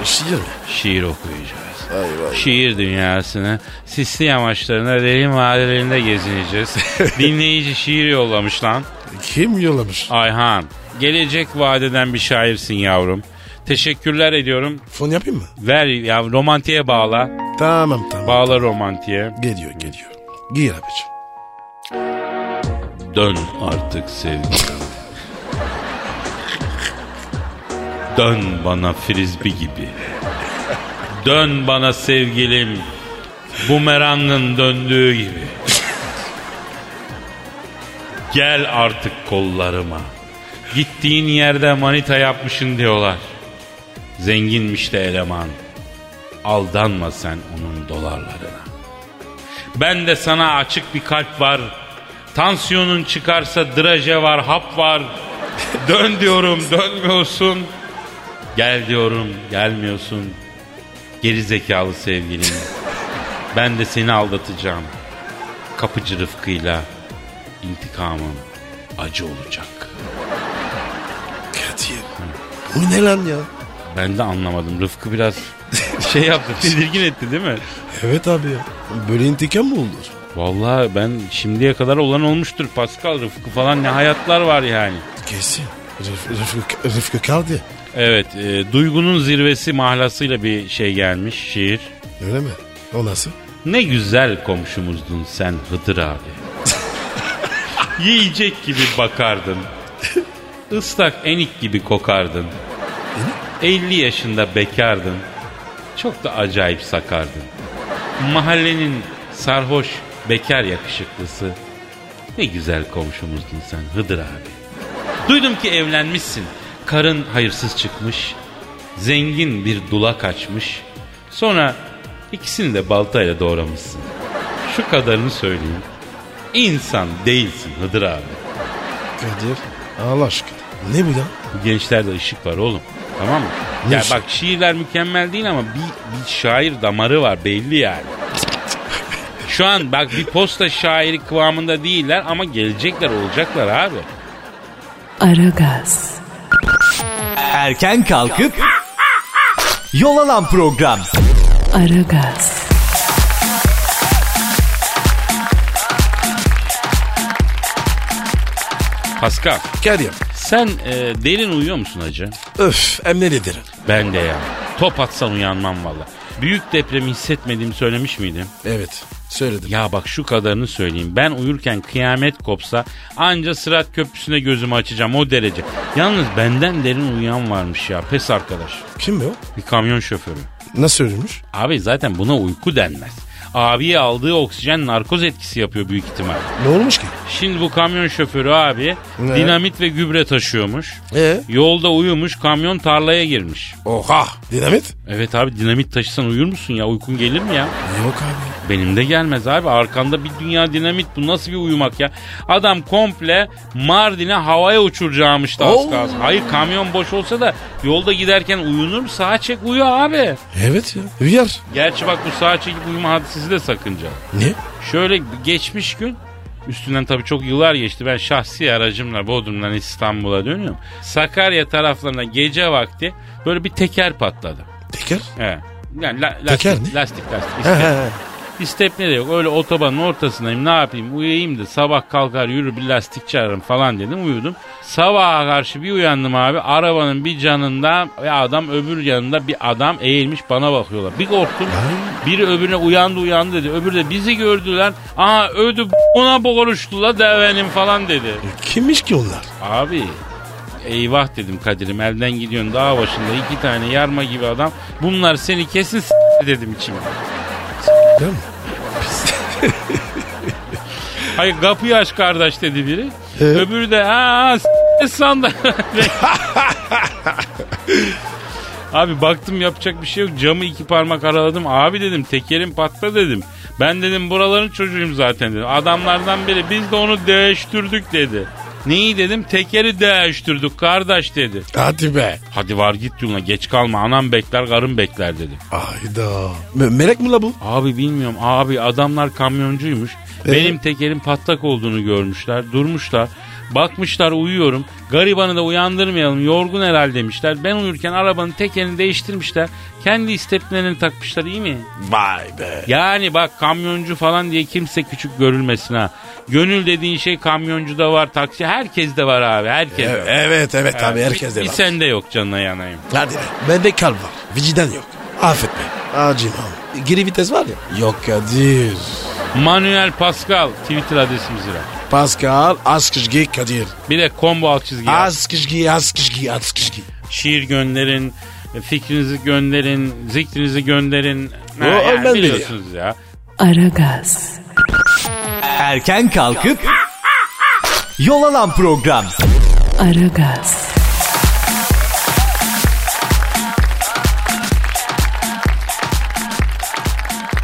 Speaker 3: Şiir mi?
Speaker 4: Şiir okuyacağız. Şiir dünyasını sisli yamaçlarına derin vadelerinde gezineceğiz. Dinleyici şiir yollamış lan.
Speaker 3: Kim yollamış?
Speaker 4: Ayhan. Gelecek vadeden bir şairsin yavrum. Teşekkürler ediyorum.
Speaker 3: Fon yapayım mı?
Speaker 4: Ver ya romantiye bağla.
Speaker 3: Tamam tamam.
Speaker 4: Bağla romantiye.
Speaker 3: geliyor geliyor. Gir abicim.
Speaker 4: Dön artık sevgilim. Dön bana frisbi gibi. Dön bana sevgilim. Bumerangın döndüğü gibi. Gel artık kollarıma. Gittiğin yerde manita yapmışın diyorlar. Zenginmiş de eleman. Aldanma sen onun dolarlarına. Ben de sana açık bir kalp var. Tansiyonun çıkarsa draje var, hap var. Dön diyorum, dönmüyorsun. Gel diyorum, gelmiyorsun. Geri zekalı sevgilim. Ben de seni aldatacağım. Kapıcı Rıfkı'yla intikamım acı olacak.
Speaker 3: Kadir. Bu ne lan ya?
Speaker 4: Ben de anlamadım. Rıfkı biraz şey yaptı, tedirgin etti değil mi?
Speaker 3: Evet abi ya. Böyle intikam mı olur?
Speaker 4: Vallahi ben şimdiye kadar olan olmuştur Pascal Rıfkı falan ne hayatlar var yani.
Speaker 3: Kesin. Rıf, Rıfkı, Rıfkı kaldı.
Speaker 4: Evet, e, duygunun zirvesi mahlasıyla bir şey gelmiş şiir.
Speaker 3: Öyle mi? O nasıl?
Speaker 4: Ne güzel komşumuzdun sen Hıdır abi. Yiyecek gibi bakardın. Islak enik gibi kokardın. 50 yaşında bekardın. Çok da acayip sakardın. Mahallenin sarhoş bekar yakışıklısı. Ne güzel komşumuzdun sen Hıdır abi. Duydum ki evlenmişsin. Karın hayırsız çıkmış. Zengin bir dula kaçmış. Sonra ikisini de baltayla doğramışsın. Şu kadarını söyleyeyim. İnsan değilsin Hıdır abi.
Speaker 3: Kadir. Allah aşkına. Ne bu ya?
Speaker 4: Bu gençlerde ışık var oğlum. Tamam mı?
Speaker 3: Ne
Speaker 4: ya
Speaker 3: ışık?
Speaker 4: bak şiirler mükemmel değil ama bir, bir şair damarı var belli yani. Şu an bak bir posta şairi kıvamında değiller ama gelecekler olacaklar abi.
Speaker 1: Aragaz,
Speaker 5: Erken kalkıp yol alan program.
Speaker 1: Aragaz,
Speaker 4: Pascal
Speaker 3: Kadir.
Speaker 4: sen e, derin uyuyor musun hacı?
Speaker 3: Öf emne derim.
Speaker 4: Ben de ya. Top atsan uyanmam valla. Büyük depremi hissetmediğimi söylemiş miydim?
Speaker 3: Evet. Söyledim.
Speaker 4: Ya bak şu kadarını söyleyeyim. Ben uyurken kıyamet kopsa anca Sırat Köprüsü'ne gözümü açacağım o derece. Yalnız benden derin uyuyan varmış ya pes arkadaş.
Speaker 3: Kim bu?
Speaker 4: Bir kamyon şoförü.
Speaker 3: Nasıl ölmüş?
Speaker 4: Abi zaten buna uyku denmez. Abiye aldığı oksijen narkoz etkisi yapıyor büyük ihtimal.
Speaker 3: Ne olmuş ki?
Speaker 4: Şimdi bu kamyon şoförü abi
Speaker 3: Ne?
Speaker 4: dinamit ve gübre taşıyormuş.
Speaker 3: Ee?
Speaker 4: Yolda uyumuş kamyon tarlaya girmiş.
Speaker 3: Oha. Dinamit?
Speaker 4: Evet abi dinamit taşısan uyur musun ya uykun gelir mi ya?
Speaker 3: Yok abi.
Speaker 4: Benim de gelmez abi arkanda bir dünya dinamit bu nasıl bir uyumak ya? Adam komple Mardin'e havaya uçuracağımıştı
Speaker 3: Oo.
Speaker 4: az kalsın. Hayır kamyon boş olsa da yolda giderken uyunur mu? Sağa çek uyu abi.
Speaker 3: Evet ya. Uyar.
Speaker 4: Gerçi bak bu sağa çekip uyuma hadisesi de sakınca.
Speaker 3: Ne?
Speaker 4: Şöyle geçmiş gün Üstünden tabii çok yıllar geçti. Ben şahsi aracımla Bodrum'dan İstanbul'a dönüyorum. Sakarya taraflarına gece vakti böyle bir teker patladı.
Speaker 3: Teker?
Speaker 4: He. Yani la- lastik,
Speaker 3: Teker ne?
Speaker 4: lastik lastik.
Speaker 3: He he
Speaker 4: İstep,
Speaker 3: he.
Speaker 4: istepne de yok. Öyle otobanın ortasındayım. Ne yapayım? Uyuyayım da sabah kalkar yürü bir lastik çağırırım falan dedim. Uyudum. Sabaha karşı bir uyandım abi. Arabanın bir canında bir adam öbür yanında bir adam eğilmiş bana bakıyorlar. Bir korktum. Biri öbürüne uyandı uyandı dedi. Öbürü de bizi gördüler. Aha ödü buna boğuluştu la devenim falan dedi.
Speaker 3: Kimmiş ki onlar?
Speaker 4: Abi eyvah dedim Kadir'im elden gidiyorsun dağ başında iki tane yarma gibi adam. Bunlar seni kesin s- dedim içime.
Speaker 3: Değil mi?
Speaker 4: Hayır kapıyı aç kardeş dedi biri.
Speaker 3: Ee?
Speaker 4: Öbürü de ha s- sandı. Abi baktım yapacak bir şey yok. Camı iki parmak araladım. Abi dedim tekerim patla dedim. Ben dedim buraların çocuğuyum zaten dedim. Adamlardan biri biz de onu değiştirdik dedi. Neyi dedim? Tekeri değiştirdik kardeş dedi.
Speaker 3: Hadi be.
Speaker 4: Hadi var git yoluna geç kalma anam bekler karım bekler dedi.
Speaker 3: Ayda. Me- melek mi la bu?
Speaker 4: Abi bilmiyorum abi adamlar kamyoncuymuş.
Speaker 3: Ee?
Speaker 4: Benim tekerim patlak olduğunu görmüşler durmuşlar. Bakmışlar uyuyorum. Garibanı da uyandırmayalım yorgun herhal demişler. Ben uyurken arabanın tekerini değiştirmişler. Kendi isteplerini takmışlar iyi mi?
Speaker 3: Vay be.
Speaker 4: Yani bak kamyoncu falan diye kimse küçük görülmesin ha. Gönül dediğin şey kamyoncu da var taksi herkes de var abi herkes.
Speaker 3: Evet evet, evet abi
Speaker 4: Bir-
Speaker 3: herkes de
Speaker 4: Bir
Speaker 3: var.
Speaker 4: sende yok canına yanayım.
Speaker 3: Hadi be. Bende kalp var. Vicdan yok. Affet be. Acımam. Geri vites var ya. Yok Kadir.
Speaker 4: Manuel Pascal Twitter adresimiz var.
Speaker 3: Pascal Askışgi Kadir.
Speaker 4: Bir de combo alt çizgi. yaz.
Speaker 3: Askışgi Askışgi Askışgi.
Speaker 4: Şiir gönderin, fikrinizi gönderin, zikrinizi gönderin. Ha,
Speaker 3: O
Speaker 4: yani
Speaker 3: önemli.
Speaker 4: biliyorsunuz ya.
Speaker 1: Aragaz,
Speaker 5: Erken kalkıp yol alan program.
Speaker 1: Aragaz,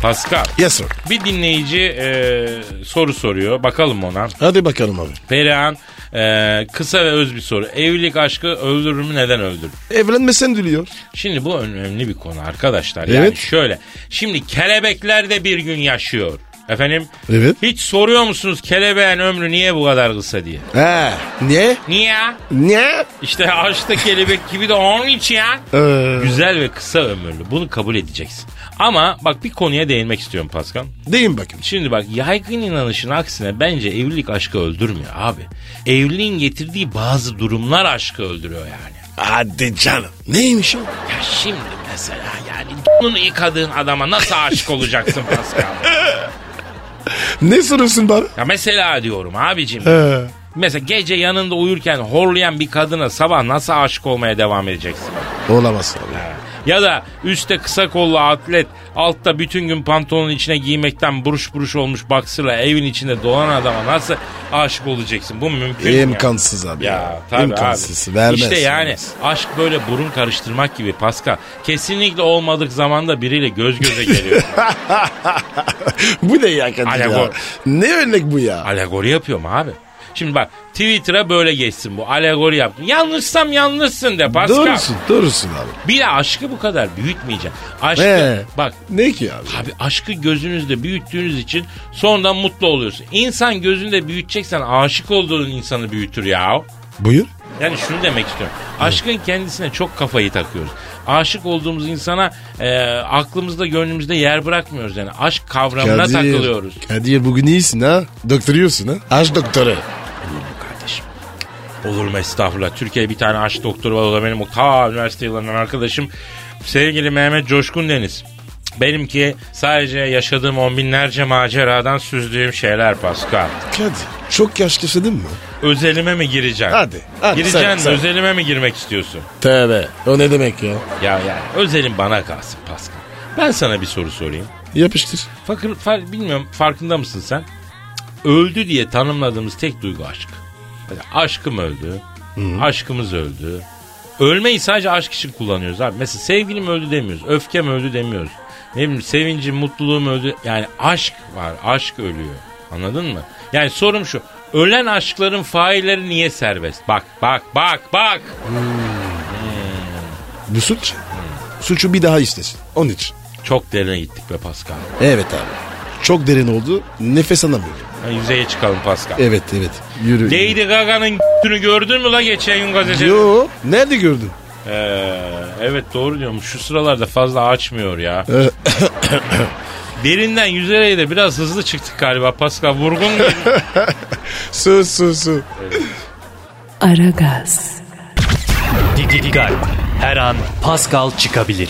Speaker 4: Pascal,
Speaker 3: Yes sir.
Speaker 4: bir dinleyici e, soru soruyor. Bakalım ona.
Speaker 3: Hadi bakalım abi.
Speaker 4: Perihan, e, kısa ve öz bir soru. Evlilik aşkı öldürür mü, neden öldürür?
Speaker 3: Evlenmesen diliyor.
Speaker 4: Şimdi bu önemli bir konu arkadaşlar. Yani
Speaker 3: Evet.
Speaker 4: şöyle. Şimdi kelebekler de bir gün yaşıyor. Efendim?
Speaker 3: Evet.
Speaker 4: Hiç soruyor musunuz kelebeğin ömrü niye bu kadar kısa diye?
Speaker 3: He. Niye?
Speaker 4: Niye?
Speaker 3: Niye?
Speaker 4: İşte ağaçta kelebek gibi de onun için ya.
Speaker 3: Ee,
Speaker 4: Güzel ve kısa ömürlü. Bunu kabul edeceksin. Ama bak bir konuya değinmek istiyorum Pascal.
Speaker 3: deyin bakayım.
Speaker 4: Şimdi bak yaygın inanışın aksine bence evlilik aşkı öldürmüyor abi. Evliliğin getirdiği bazı durumlar aşkı öldürüyor yani.
Speaker 3: Hadi canım. Neymiş o?
Speaker 4: Ya şimdi mesela yani bunu yıkadığın adama nasıl aşık olacaksın Pascal?
Speaker 3: Ne soruyorsun bana?
Speaker 4: Ya mesela diyorum abicim.
Speaker 3: He.
Speaker 4: Mesela gece yanında uyurken horlayan bir kadına sabah nasıl aşık olmaya devam edeceksin?
Speaker 3: Olamaz abi.
Speaker 4: Ya da üstte kısa kollu atlet, altta bütün gün pantolonun içine giymekten buruş buruş olmuş baksırla evin içinde dolan adama nasıl aşık olacaksın? Bu mümkün mü?
Speaker 3: İmkansız abi.
Speaker 4: Ya, ya tabii
Speaker 3: İmkansız.
Speaker 4: abi.
Speaker 3: Vermez.
Speaker 4: İşte yani
Speaker 3: vermez.
Speaker 4: aşk böyle burun karıştırmak gibi Pascal. Kesinlikle olmadık zamanda biriyle göz göze geliyor.
Speaker 3: bu ne ya Kadir ya?
Speaker 4: Alegor.
Speaker 3: Ne örnek bu ya?
Speaker 4: Alegori yapıyorum abi. Şimdi bak Twitter'a böyle geçsin bu. Alegori yaptım. Yanlışsam yanlışsın de Pascal.
Speaker 3: Doğrusun, doğrusun abi.
Speaker 4: Bir de aşkı bu kadar büyütmeyeceksin. Aşkı
Speaker 3: Ee?
Speaker 4: bak
Speaker 3: Ne ki abi?
Speaker 4: Abi aşkı gözünüzde büyüttüğünüz için sonradan mutlu oluyorsun. İnsan gözünde büyüteceksen aşık olduğun insanı büyütür ya.
Speaker 3: Buyur.
Speaker 4: Yani şunu demek istiyorum. Aşkın kendisine çok kafayı takıyoruz. Aşık olduğumuz insana e, aklımızda gönlümüzde yer bırakmıyoruz yani. Aşk kavramına takılıyoruz.
Speaker 3: Kadir bugün iyisin ha? Doktoruyorsun ha? Aç doktoru.
Speaker 4: Kardeşim. Olur mu estağfurullah. Türkiye'de bir tane aşk doktoru var. O da benim o ta üniversite yıllarından arkadaşım. Sevgili Mehmet Coşkun Deniz. Benimki sadece yaşadığım on binlerce maceradan süzdüğüm şeyler Pascal.
Speaker 3: Kadir çok yaş geçirdin mi?
Speaker 4: Özelime mi gireceksin?
Speaker 3: Hadi, hadi,
Speaker 4: Gireceksin
Speaker 3: sen-
Speaker 4: mi?
Speaker 3: sen.
Speaker 4: Özelime mi girmek istiyorsun?
Speaker 3: Tövbe. O ne demek ya?
Speaker 4: Ya ya özelim bana kalsın Pascal. Ben sana bir soru sorayım.
Speaker 3: Yapıştır.
Speaker 4: Fakir, far- bilmiyorum farkında mısın sen? Öldü diye tanımladığımız tek duygu aşk. Mesela aşkım öldü. Aşkımız öldü. Ölmeyi sadece aşk için kullanıyoruz abi. Mesela sevgilim öldü demiyoruz. Öfkem öldü demiyoruz. Ne bileyim sevincim, mutluluğum öldü. Yani aşk var. Aşk ölüyor. Anladın mı? Yani sorum şu. Ölen aşkların failleri niye serbest? Bak, bak, bak, bak.
Speaker 3: Bu suç. Suçu bir daha istesin. Onun için.
Speaker 4: Çok derine gittik be Pascal.
Speaker 3: Evet abi. Çok derin oldu. Nefes alamıyorum.
Speaker 4: Ha, yüzeye çıkalım Pascal.
Speaker 3: Evet evet. Yürü.
Speaker 4: Lady Gaga'nın g***ünü gördün mü la geçen gün gazetede?
Speaker 3: Yo. Nerede gördün?
Speaker 4: Ee, evet doğru diyorum. Şu sıralarda fazla açmıyor ya. Derinden yüzeye de biraz hızlı çıktık galiba Pascal. Vurgun muydu?
Speaker 3: Su su su.
Speaker 1: Aragaz,
Speaker 5: Didi Dikkat. Her an Pascal çıkabilir.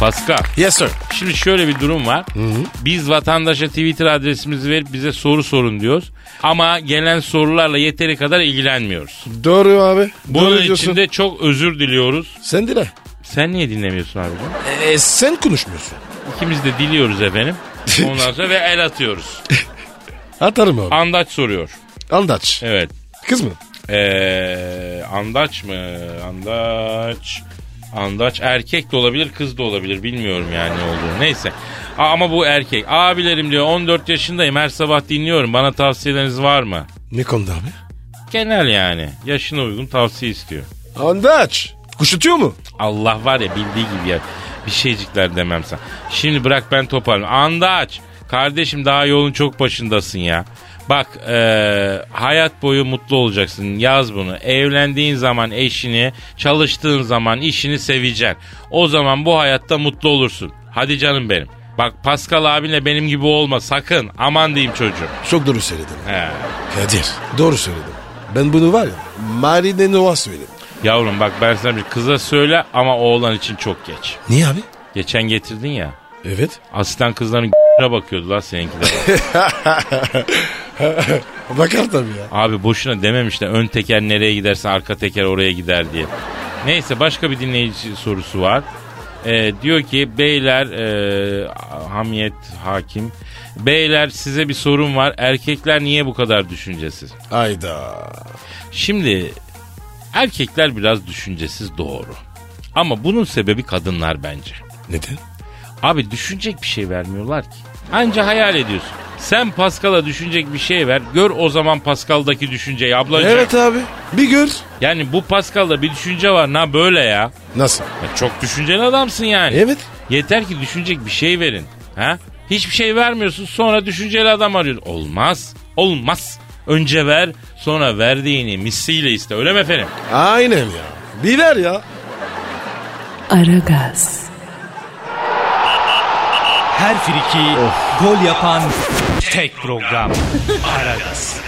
Speaker 4: Pascal.
Speaker 3: Yes sir.
Speaker 4: Şimdi şöyle bir durum var. Biz vatandaşa Twitter adresimizi verip bize soru sorun diyoruz. Ama gelen sorularla yeteri kadar ilgilenmiyoruz.
Speaker 3: Doğru abi.
Speaker 4: Bunun
Speaker 3: Doğru
Speaker 4: için
Speaker 3: diyorsun.
Speaker 4: de çok özür diliyoruz.
Speaker 3: Sen dile.
Speaker 4: Sen niye dinlemiyorsun abi? bunu?
Speaker 3: E, sen konuşmuyorsun.
Speaker 4: İkimiz de diliyoruz efendim. Ondan sonra ve el atıyoruz.
Speaker 3: Atarım abi.
Speaker 4: Andaç soruyor.
Speaker 3: Andaç.
Speaker 4: Evet.
Speaker 3: Kız mı?
Speaker 4: Ee, andaç mı? Andaç. Andaç erkek de olabilir kız da olabilir bilmiyorum yani ne olduğunu. Neyse. A- Ama bu erkek. Abilerim diyor 14 yaşındayım her sabah dinliyorum. Bana tavsiyeleriniz var mı?
Speaker 3: Ne konuda abi?
Speaker 4: Genel yani. Yaşına uygun tavsiye istiyor.
Speaker 3: Andaç. Kuşutuyor mu?
Speaker 4: Allah var ya bildiği gibi ya. Bir şeycikler demem sana. Şimdi bırak ben toparlayayım. Andaç. Kardeşim daha yolun çok başındasın ya. Bak eee, hayat boyu mutlu olacaksın. Yaz bunu. Evlendiğin zaman eşini, çalıştığın zaman işini seveceksin. O zaman bu hayatta mutlu olursun. Hadi canım benim. Bak Pascal abinle benim gibi olma sakın. Aman diyeyim çocuğum.
Speaker 3: Çok doğru söyledin.
Speaker 4: He.
Speaker 3: Kadir. Doğru söyledin. Ben bunu var ya. Marine Noah söyledim.
Speaker 4: Yavrum bak ben sana bir kıza söyle ama oğlan için çok geç.
Speaker 3: Niye abi?
Speaker 4: Geçen getirdin ya.
Speaker 3: Evet.
Speaker 4: Asistan kızların g***ne bakıyordu lan seninkiler.
Speaker 3: Bakar tabii ya.
Speaker 4: Abi boşuna dememişler ön teker nereye giderse arka teker oraya gider diye. Neyse başka bir dinleyici sorusu var. Ee, diyor ki beyler e, hamiyet hakim. Beyler size bir sorun var. Erkekler niye bu kadar düşüncesiz?
Speaker 3: Ayda.
Speaker 4: Şimdi erkekler biraz düşüncesiz doğru. Ama bunun sebebi kadınlar bence.
Speaker 3: Neden?
Speaker 4: Abi düşünecek bir şey vermiyorlar ki. Anca hayal ediyorsun. Sen Pascal'a düşünecek bir şey ver. Gör o zaman Pascal'daki düşünceyi ablacığım.
Speaker 3: Evet abi. Bir gör.
Speaker 4: Yani bu Pascal'da bir düşünce var. Na böyle ya.
Speaker 3: Nasıl?
Speaker 4: Ya çok düşünceli adamsın yani.
Speaker 3: Evet.
Speaker 4: Yeter ki düşünecek bir şey verin. Ha? Hiçbir şey vermiyorsun sonra düşünceli adam arıyor. Olmaz. Olmaz. Önce ver sonra verdiğini misliyle iste öyle mi efendim?
Speaker 3: Aynen ya. Bir ver ya.
Speaker 1: Aragaz,
Speaker 5: Her friki gol yapan tek program. Aragaz.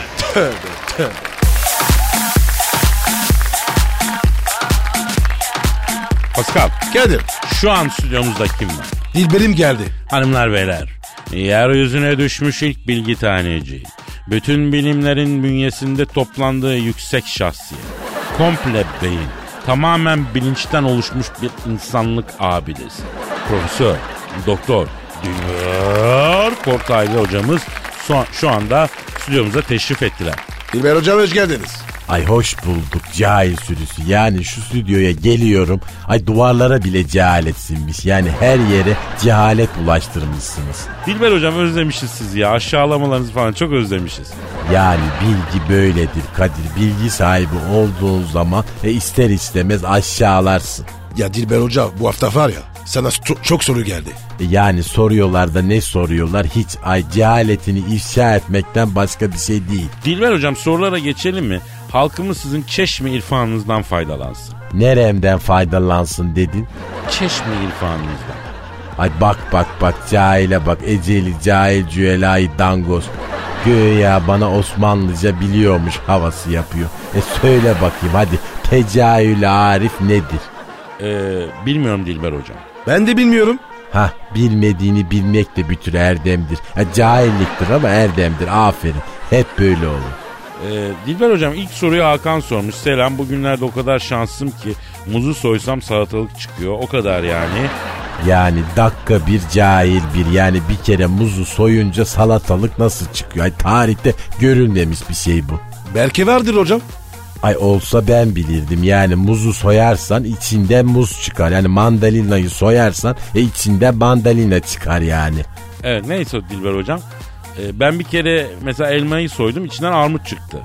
Speaker 4: Pascal
Speaker 3: Kadir.
Speaker 4: şu an stüdyomuzda kim var?
Speaker 3: Dilberim geldi.
Speaker 4: Hanımlar beyler, yeryüzüne düşmüş ilk bilgi taneci. Bütün bilimlerin bünyesinde toplandığı yüksek şahsiyet. Komple beyin. Tamamen bilinçten oluşmuş bir insanlık abidesi. Profesör, doktor, Dünyar Kortaylı hocamız son- şu anda stüdyomuza teşrif ettiler.
Speaker 3: Dilber hocam hoş geldiniz.
Speaker 6: Ay hoş bulduk cahil sürüsü. Yani şu stüdyoya geliyorum. Ay duvarlara bile cehalet sinmiş. Yani her yere cehalet bulaştırmışsınız.
Speaker 4: Dilber hocam özlemişiz sizi ya. Aşağılamalarınızı falan çok özlemişiz.
Speaker 6: Yani bilgi böyledir Kadir. Bilgi sahibi olduğun zaman e, ister istemez aşağılarsın.
Speaker 3: Ya Dilber hoca bu hafta var ya sana sto- çok soru geldi.
Speaker 6: E, Yani soruyorlar da ne soruyorlar hiç ay cehaletini ifşa etmekten başka bir şey değil.
Speaker 4: Dilber hocam sorulara geçelim mi? Halkımız sizin çeşme irfanınızdan faydalansın.
Speaker 6: Neremden faydalansın dedin?
Speaker 4: Çeşme irfanınızdan.
Speaker 6: Ay bak bak bak cahile bak eceli cahil cüelayı dangoz. Güya bana Osmanlıca biliyormuş havası yapıyor. E söyle bakayım hadi tecahül arif nedir?
Speaker 4: Ee, bilmiyorum Dilber hocam.
Speaker 3: Ben de bilmiyorum.
Speaker 6: Ha bilmediğini bilmek de bir tür erdemdir. Ha, cahilliktir ama erdemdir aferin. Hep böyle olur.
Speaker 4: Ee, Dilber hocam ilk soruyu Hakan sormuş. Selam bugünlerde o kadar şanslım ki muzu soysam salatalık çıkıyor. O kadar yani.
Speaker 6: Yani dakika bir cahil bir yani bir kere muzu soyunca salatalık nasıl çıkıyor? Ay tarihte görülmemiş bir şey bu.
Speaker 3: Belki vardır hocam.
Speaker 6: Ay olsa ben bilirdim yani muzu soyarsan içinden muz çıkar. Yani mandalinayı soyarsan e içinden mandalina çıkar yani.
Speaker 4: Evet neyse Dilber hocam. Ee, ben bir kere mesela elmayı soydum içinden armut çıktı.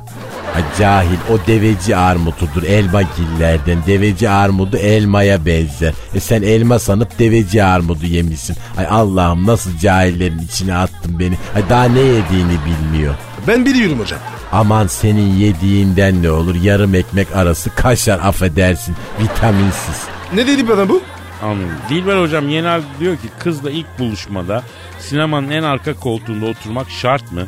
Speaker 6: Ha, cahil o deveci armutudur elma gillerden. Deveci armudu elmaya benzer. E sen elma sanıp deveci armudu yemişsin. Ay Allah'ım nasıl cahillerin içine attın beni. Ay daha ne yediğini bilmiyor.
Speaker 3: Ben biliyorum hocam.
Speaker 6: Aman senin yediğinden ne olur yarım ekmek arası kaşar affedersin vitaminsiz.
Speaker 3: Ne dedi bana bu?
Speaker 4: Anladım. Dilber hocam Yenal diyor ki kızla ilk buluşmada sinemanın en arka koltuğunda oturmak şart mı?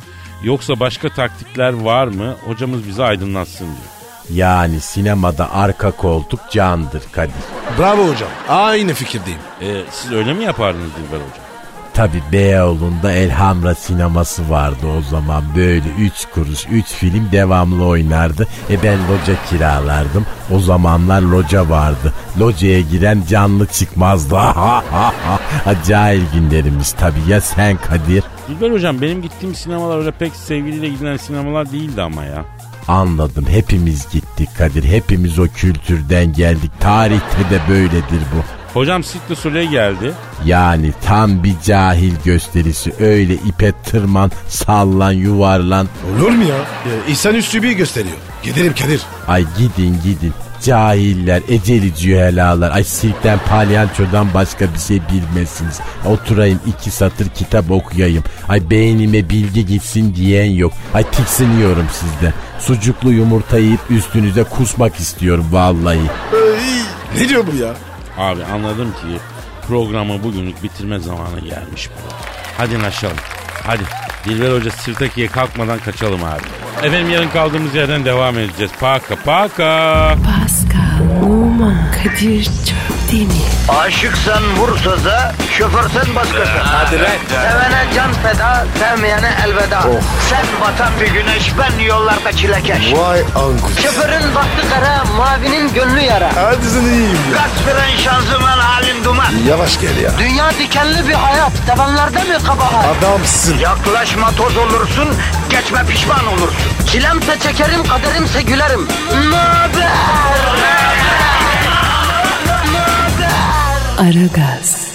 Speaker 4: Yoksa başka taktikler var mı? Hocamız bizi aydınlatsın diyor.
Speaker 6: Yani sinemada arka koltuk candır Kadir.
Speaker 3: Bravo hocam. Aynı fikirdeyim.
Speaker 4: E, siz öyle mi yapardınız Dilber hocam?
Speaker 6: Tabi Beyoğlu'nda Elhamra sineması vardı o zaman böyle 3 kuruş 3 film devamlı oynardı. E ben loca kiralardım. O zamanlar loca vardı. Locaya giren canlı çıkmazdı. Acayip günlerimiz tabi ya sen Kadir.
Speaker 4: Dilber hocam benim gittiğim sinemalar öyle pek sevgiliyle gidilen sinemalar değildi ama ya.
Speaker 6: Anladım hepimiz gittik Kadir hepimiz o kültürden geldik tarihte de böyledir bu.
Speaker 4: Hocam Sitli Sule geldi.
Speaker 6: Yani tam bir cahil gösterisi öyle ipe tırman sallan yuvarlan
Speaker 3: Olur mu ya? ya İhsan Üstübü'yü gösteriyor. Gidelim Kadir.
Speaker 6: Ay gidin gidin. Cahiller, eceli cühelalar. Ay sirkten, palyançodan başka bir şey bilmezsiniz. Oturayım iki satır kitap okuyayım. Ay beynime bilgi gitsin diyen yok. Ay tiksiniyorum sizden. Sucuklu yumurta yiyip üstünüze kusmak istiyorum vallahi.
Speaker 3: Ay, ne diyor bu ya?
Speaker 4: Abi anladım ki programı bugünlük bitirme zamanı gelmiş bu. Hadi naşalım. Hadi. Dilber Hoca Sirtaki'ye kalkmadan kaçalım abi. Efendim yarın kaldığımız yerden devam edeceğiz. Paka paka.
Speaker 1: Pascal, Oman, Kadir çok değil mi?
Speaker 2: Aşıksan vursa da, şoförsen başkasın. Hadi Sevene can feda, sevmeyene elveda. Sen batan bir güneş, ben yollarda çilekeş.
Speaker 3: Vay anku.
Speaker 2: Şoförün baktı kara, mavinin gönlü yara.
Speaker 3: Hadi sen iyiyim ya.
Speaker 2: Kasperen şanzıman halin duman.
Speaker 3: Yavaş gel ya.
Speaker 2: Dünya dikenli bir hayat, sevenlerde mi kabahar?
Speaker 3: Adamsın.
Speaker 2: Yaklaşma toz olursun, geçme pişman olursun. Çilemse çekerim, kaderimse gülerim. Möber!
Speaker 1: Aragaz.